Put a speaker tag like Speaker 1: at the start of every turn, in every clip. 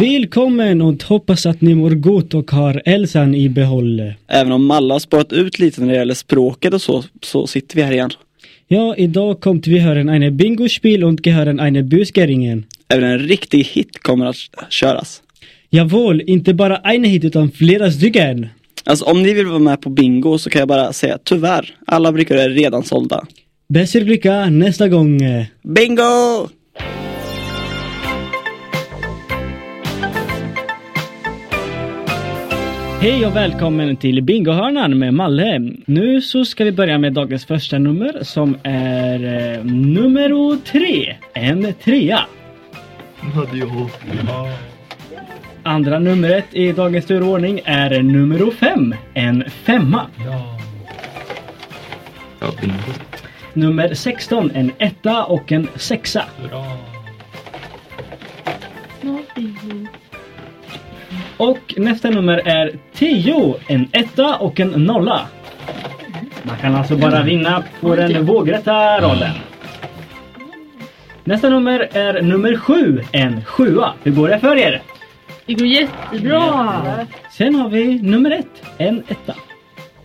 Speaker 1: Välkommen och hoppas att ni mår gott och har hälsan i behåll.
Speaker 2: Även om alla har sparat ut lite när det gäller språket och så, så sitter vi här igen.
Speaker 1: Ja, idag kommt vi hören eine Bingo-Spiel und gehören eine Busgeringen.
Speaker 2: Även en riktig hit kommer att köras.
Speaker 1: Jawohl, inte bara en hit utan flera stycken.
Speaker 2: Alltså om ni vill vara med på bingo så kan jag bara säga tyvärr, alla brickor är redan sålda.
Speaker 1: Bäst er lycka nästa gång.
Speaker 2: Bingo!
Speaker 1: Hej och välkommen till Bingohörnan med Malle. Nu så ska vi börja med dagens första nummer som är eh, nummer tre. En trea. Andra numret i dagens turordning är nummer fem. En femma.
Speaker 3: Ja, bingo.
Speaker 1: Nummer 16, en etta och en sexa. Och nästa nummer är 10, en etta och en nolla. Man kan alltså bara vinna på den vågrätta rollen. Nästa nummer är nummer 7, en sjua. Hur går det för er?
Speaker 4: Det går jättebra!
Speaker 1: Sen har vi nummer 1, en etta.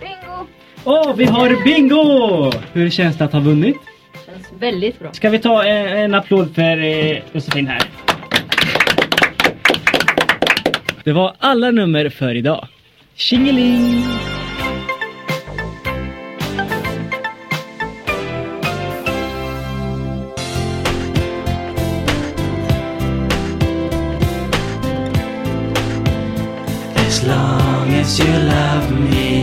Speaker 5: Bingo!
Speaker 1: Och vi har bingo! Hur känns det att ha vunnit?
Speaker 4: Känns väldigt bra.
Speaker 1: Ska vi ta en, en applåd för eh, Josefin här? Det var alla nummer för idag. Tjingeling!
Speaker 6: As long as you love me.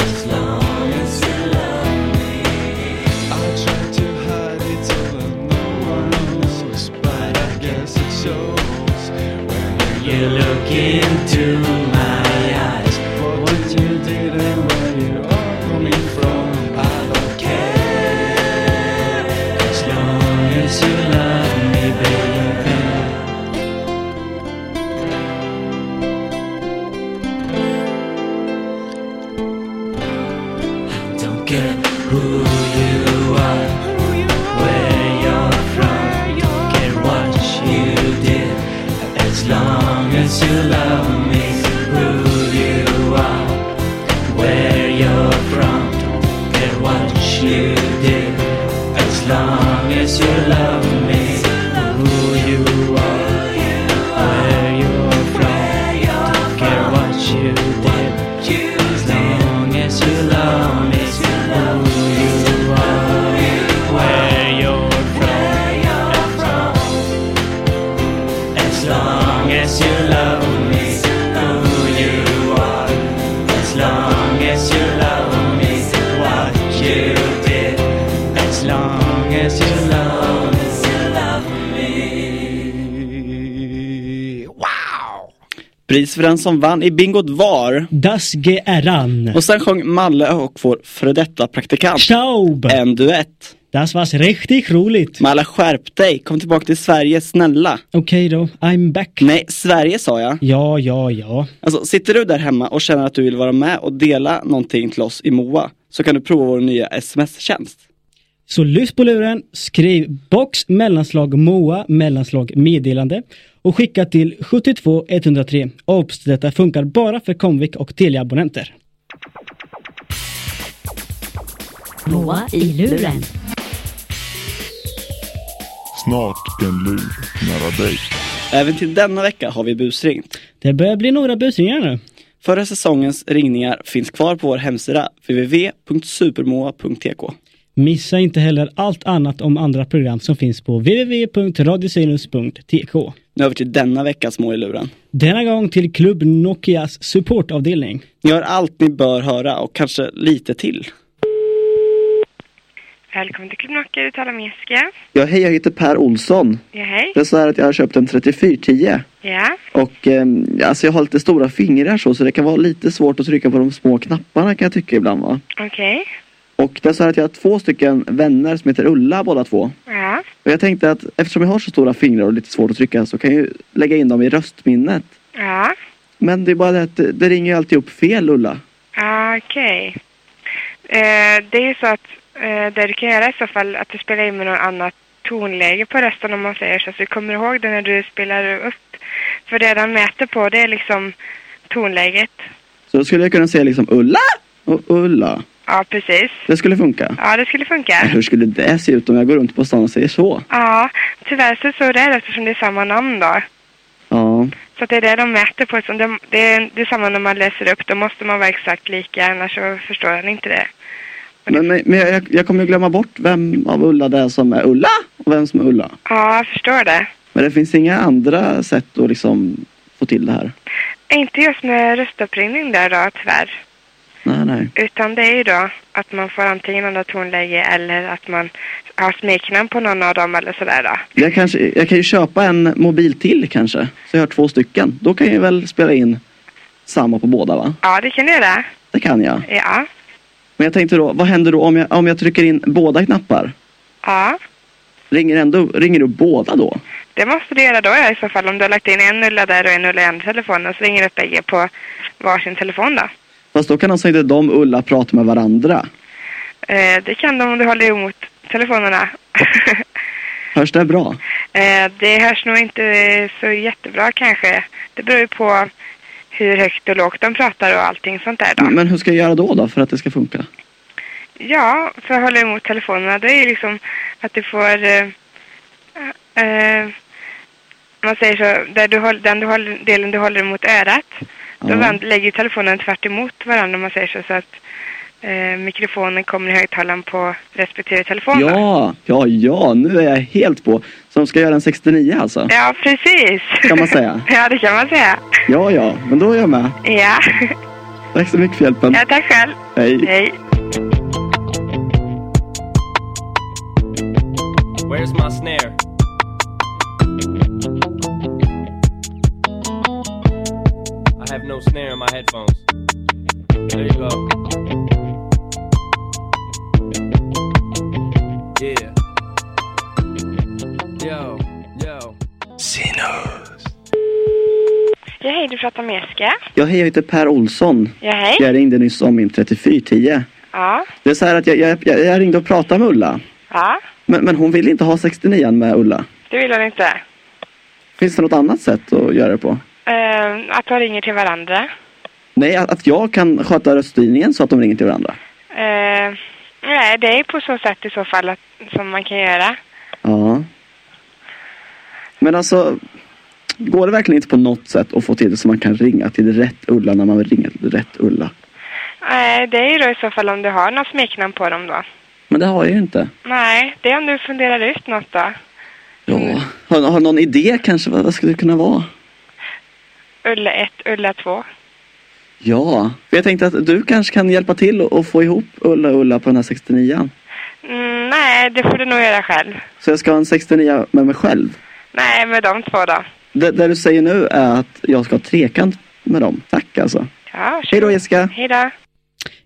Speaker 6: As long as you love me. I try to hide it till no one knows, but I guess it shows when you look into my eyes. What you did and where you are coming from, I don't care. As long as you love me, baby. Don't care who you are, where you're from. Don't care what you did, as long as you love me. Who you are, where you're from. Don't care what you did, as long as you love me. Who you are, where you're from. Don't care what you did. As long as you love me, who you are, where you're from. As long as you love me, who you are. As long as you love me, what you did. As long as you love me.
Speaker 2: Pris för den som vann i bingot var...
Speaker 1: Das Geäran!
Speaker 2: Och sen sjöng Malle och vår före detta praktikant
Speaker 1: Staub!
Speaker 2: en duett.
Speaker 1: Das was riktigt roligt!
Speaker 2: Malle skärp dig, kom tillbaka till Sverige snälla.
Speaker 1: Okej då, I'm back.
Speaker 2: Nej, Sverige sa jag.
Speaker 1: Ja, ja, ja.
Speaker 2: Alltså, sitter du där hemma och känner att du vill vara med och dela någonting till oss i MOA så kan du prova vår nya sms-tjänst.
Speaker 1: Så lyft på luren, skriv box mellanslag MOA mellanslag meddelande och skicka till 72 103. Obs! Detta funkar bara för Comviq och Telia-abonnenter.
Speaker 4: Moa i luren.
Speaker 7: Snart en lur nära dig.
Speaker 2: Även till denna vecka har vi busringt.
Speaker 1: Det börjar bli några busringar nu.
Speaker 2: Förra säsongens ringningar finns kvar på vår hemsida www.supermoa.tk.
Speaker 1: Missa inte heller allt annat om andra program som finns på www.radiosinus.tk.
Speaker 2: Nu över till denna veckas mål i luren.
Speaker 1: Denna gång till Klubb Nokias supportavdelning.
Speaker 2: Ni har allt ni bör höra och kanske lite till.
Speaker 8: Välkommen till Klubb Nacka, du talar med Jessica.
Speaker 2: Ja, hej, jag heter Per Olsson.
Speaker 8: Ja, hej.
Speaker 2: Det är så här att jag har köpt en 3410
Speaker 8: Ja,
Speaker 2: och eh, alltså jag har lite stora fingrar så, så det kan vara lite svårt att trycka på de små knapparna kan jag tycka ibland va.
Speaker 8: okej.
Speaker 2: Och det är så här att jag har två stycken vänner som heter Ulla båda två.
Speaker 8: Ja,
Speaker 2: Och jag tänkte att eftersom jag har så stora fingrar och lite svårt att trycka så kan jag ju lägga in dem i röstminnet.
Speaker 8: ja,
Speaker 2: Men det är bara det att det, det ringer ju alltid upp fel Ulla.
Speaker 8: ja, okej. Eh, det är ju så att Eh, det du kan göra i så fall att du spelar in med någon annat tonläge på rösten om man säger så. Så du kommer ihåg det när du spelar upp. För det den mäter på det är liksom tonläget.
Speaker 2: Så då skulle jag kunna säga liksom Ulla och Ulla.
Speaker 8: Ja, precis.
Speaker 2: Det skulle funka. "Äh,
Speaker 8: Ja, det skulle funka.
Speaker 2: Hur skulle det se ut om jag går runt på stan och säger så?
Speaker 8: Ja, tyvärr så står det här eftersom det är samma namn då.
Speaker 2: Ja,
Speaker 8: Så att det är det de mäter på. Så de- Det är, det är samma när man läser upp. Då måste man vara exakt lika, annars så förstår han inte det.
Speaker 2: men, men, men jag, jag kommer ju glömma bort vem av Ulla det är som är Ulla och vem som är Ulla.
Speaker 8: Ja, jag förstår det.
Speaker 2: Men det finns inga andra sätt att liksom få till det här.
Speaker 8: Inte just med röstuppringning där då, tyvärr.
Speaker 2: Nej, nej.
Speaker 8: Utan det är ju då att man får antingen andra tonläge eller att man har smeknamn på någon av dem eller sådär då.
Speaker 2: Jag, kanske, jag kan ju köpa en mobil till kanske. Så jag har två stycken. Då kan jag väl spela in samma på båda va?
Speaker 8: Ja, det kan du göra.
Speaker 2: Det kan jag.
Speaker 8: Ja.
Speaker 2: Men jag tänkte då, vad händer då om jag, om jag trycker in båda knappar?
Speaker 8: Ja.
Speaker 2: Ringer, ändå, ringer du båda då?
Speaker 8: Det måste du göra då ja, i så fall. Om du har lagt in en Ulla där och en Ulla i andra telefonen så ringer du upp bägge på varsin telefon då.
Speaker 2: Fast då kan alltså inte de Ulla prata med varandra.
Speaker 8: Eh, det kan de om du håller emot telefonerna.
Speaker 2: Hörs det bra?
Speaker 8: eh, det hörs nog inte så jättebra kanske. Det beror ju på hur högt och lågt de pratar och allting sånt där då.
Speaker 2: Men hur ska jag göra då, då för att det ska funka?
Speaker 8: Ja, för att hålla emot telefonerna det är ju liksom att du får... Eh, eh, man säger så, där du håller, den du håller, delen du håller emot örat, då
Speaker 2: Ja.
Speaker 8: vänd, lägger ju telefonen tvärt emot varandra om man säger så, så att eh, mikrofonen kommer i högtalaren på respektive telefon. då.
Speaker 2: Ja, ja, ja, nu är jag helt på. Så de ska göra en 69 alltså?
Speaker 8: Ja, precis.
Speaker 2: Kan man säga.
Speaker 8: ja, det kan man säga.
Speaker 2: Ja, ja, men då är jag med.
Speaker 8: Ja,
Speaker 2: Tack så mycket för hjälpen.
Speaker 8: ja tack själv.
Speaker 2: Hej.
Speaker 8: Hej.
Speaker 6: Where's my snare? I have no snare in my headphones. There you go. Yeah. Yo, yo.
Speaker 8: Ja, hej, du pratar med Jessica.
Speaker 2: Ja, hej, jag heter Per Olsson.
Speaker 8: Ja, hej.
Speaker 2: Jag ringde nyss om min 3410.
Speaker 8: Ja,
Speaker 2: Det är så här att jag, jag, jag, jag ringde och pratade med Ulla.
Speaker 8: ja.
Speaker 2: Men, men hon vill inte ha 69 med Ulla.
Speaker 8: Det vill hon inte.
Speaker 2: Finns det något annat sätt att göra det på?
Speaker 8: Eh, att de ringer till varandra.
Speaker 2: Nej, att, att jag kan sköta röststyrningen så att de ringer till varandra.
Speaker 8: Eh, nej, det är på så sätt i så fall att, som man kan göra.
Speaker 2: Ja. Men alltså, går det verkligen inte på något sätt att få till det så man kan ringa till rätt Ulla när man vill ringa till rätt Ulla?
Speaker 8: Nej, det är ju då i så fall om du har något smeknamn på dem då.
Speaker 2: Men det har jag ju inte.
Speaker 8: Nej, det är om du funderar ut något då.
Speaker 2: Ja. Har, har någon idé kanske vad, vad skulle det kunna vara?
Speaker 8: Ulla 1, Ulla 2.
Speaker 2: Ja, För jag tänkte att du kanske kan hjälpa till och, och få ihop Ulla och Ulla på den här 69
Speaker 8: Mm, nej, det får du nog göra själv.
Speaker 2: Så jag ska ha en 69 med mig själv.
Speaker 8: Nej, med de två då.
Speaker 2: Det, det du säger nu är att jag ska ha trekant med dem. Tack alltså.
Speaker 8: Ja, varsågod.
Speaker 2: Hej då Jessica.
Speaker 8: Hej då.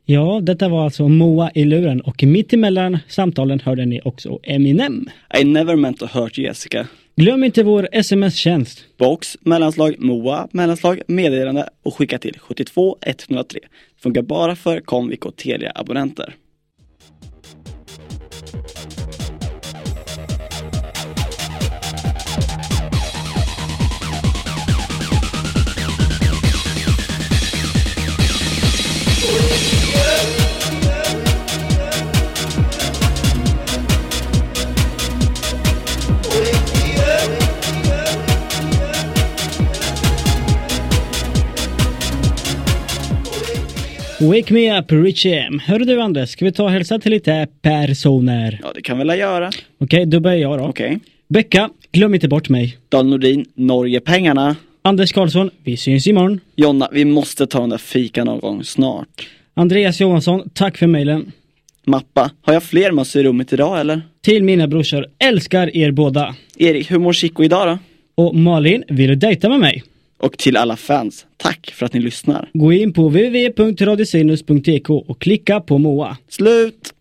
Speaker 1: Ja, detta var alltså Moa i luren och mitt emellan samtalen hörde ni också Eminem.
Speaker 2: I never meant to hurt Jessica.
Speaker 1: Glöm inte vår sms-tjänst.
Speaker 2: Box, mellanslag, MOA, mellanslag, meddelande och skicka till 72 103. Funkar bara för Comviq och Telia-abonnenter.
Speaker 1: Wake me up, Richie M. Hörru du Anders, ska vi ta och hälsa till lite personer?
Speaker 2: Ja, det kan väl jag göra.
Speaker 1: Okej, då börjar jag då.
Speaker 2: Okej.
Speaker 1: Becka, glöm inte bort mig.
Speaker 2: Dan Nordin, Norgepengarna.
Speaker 1: Anders Karlsson, vi syns imorgon.
Speaker 2: Jonna, vi måste ta den där fika någon gång snart.
Speaker 1: Andreas Johansson, tack för mejlen.
Speaker 2: Mappa, har jag fler möss i rummet idag eller?
Speaker 1: Till mina brorsor, älskar er båda.
Speaker 2: Erik, hur mår Chico idag då?
Speaker 1: Och Malin, vill du dejta med mig?
Speaker 2: Och till alla fans, tack för att ni lyssnar.
Speaker 1: Gå in på www.radiosinus.tk och klicka på MOA.
Speaker 2: Slut!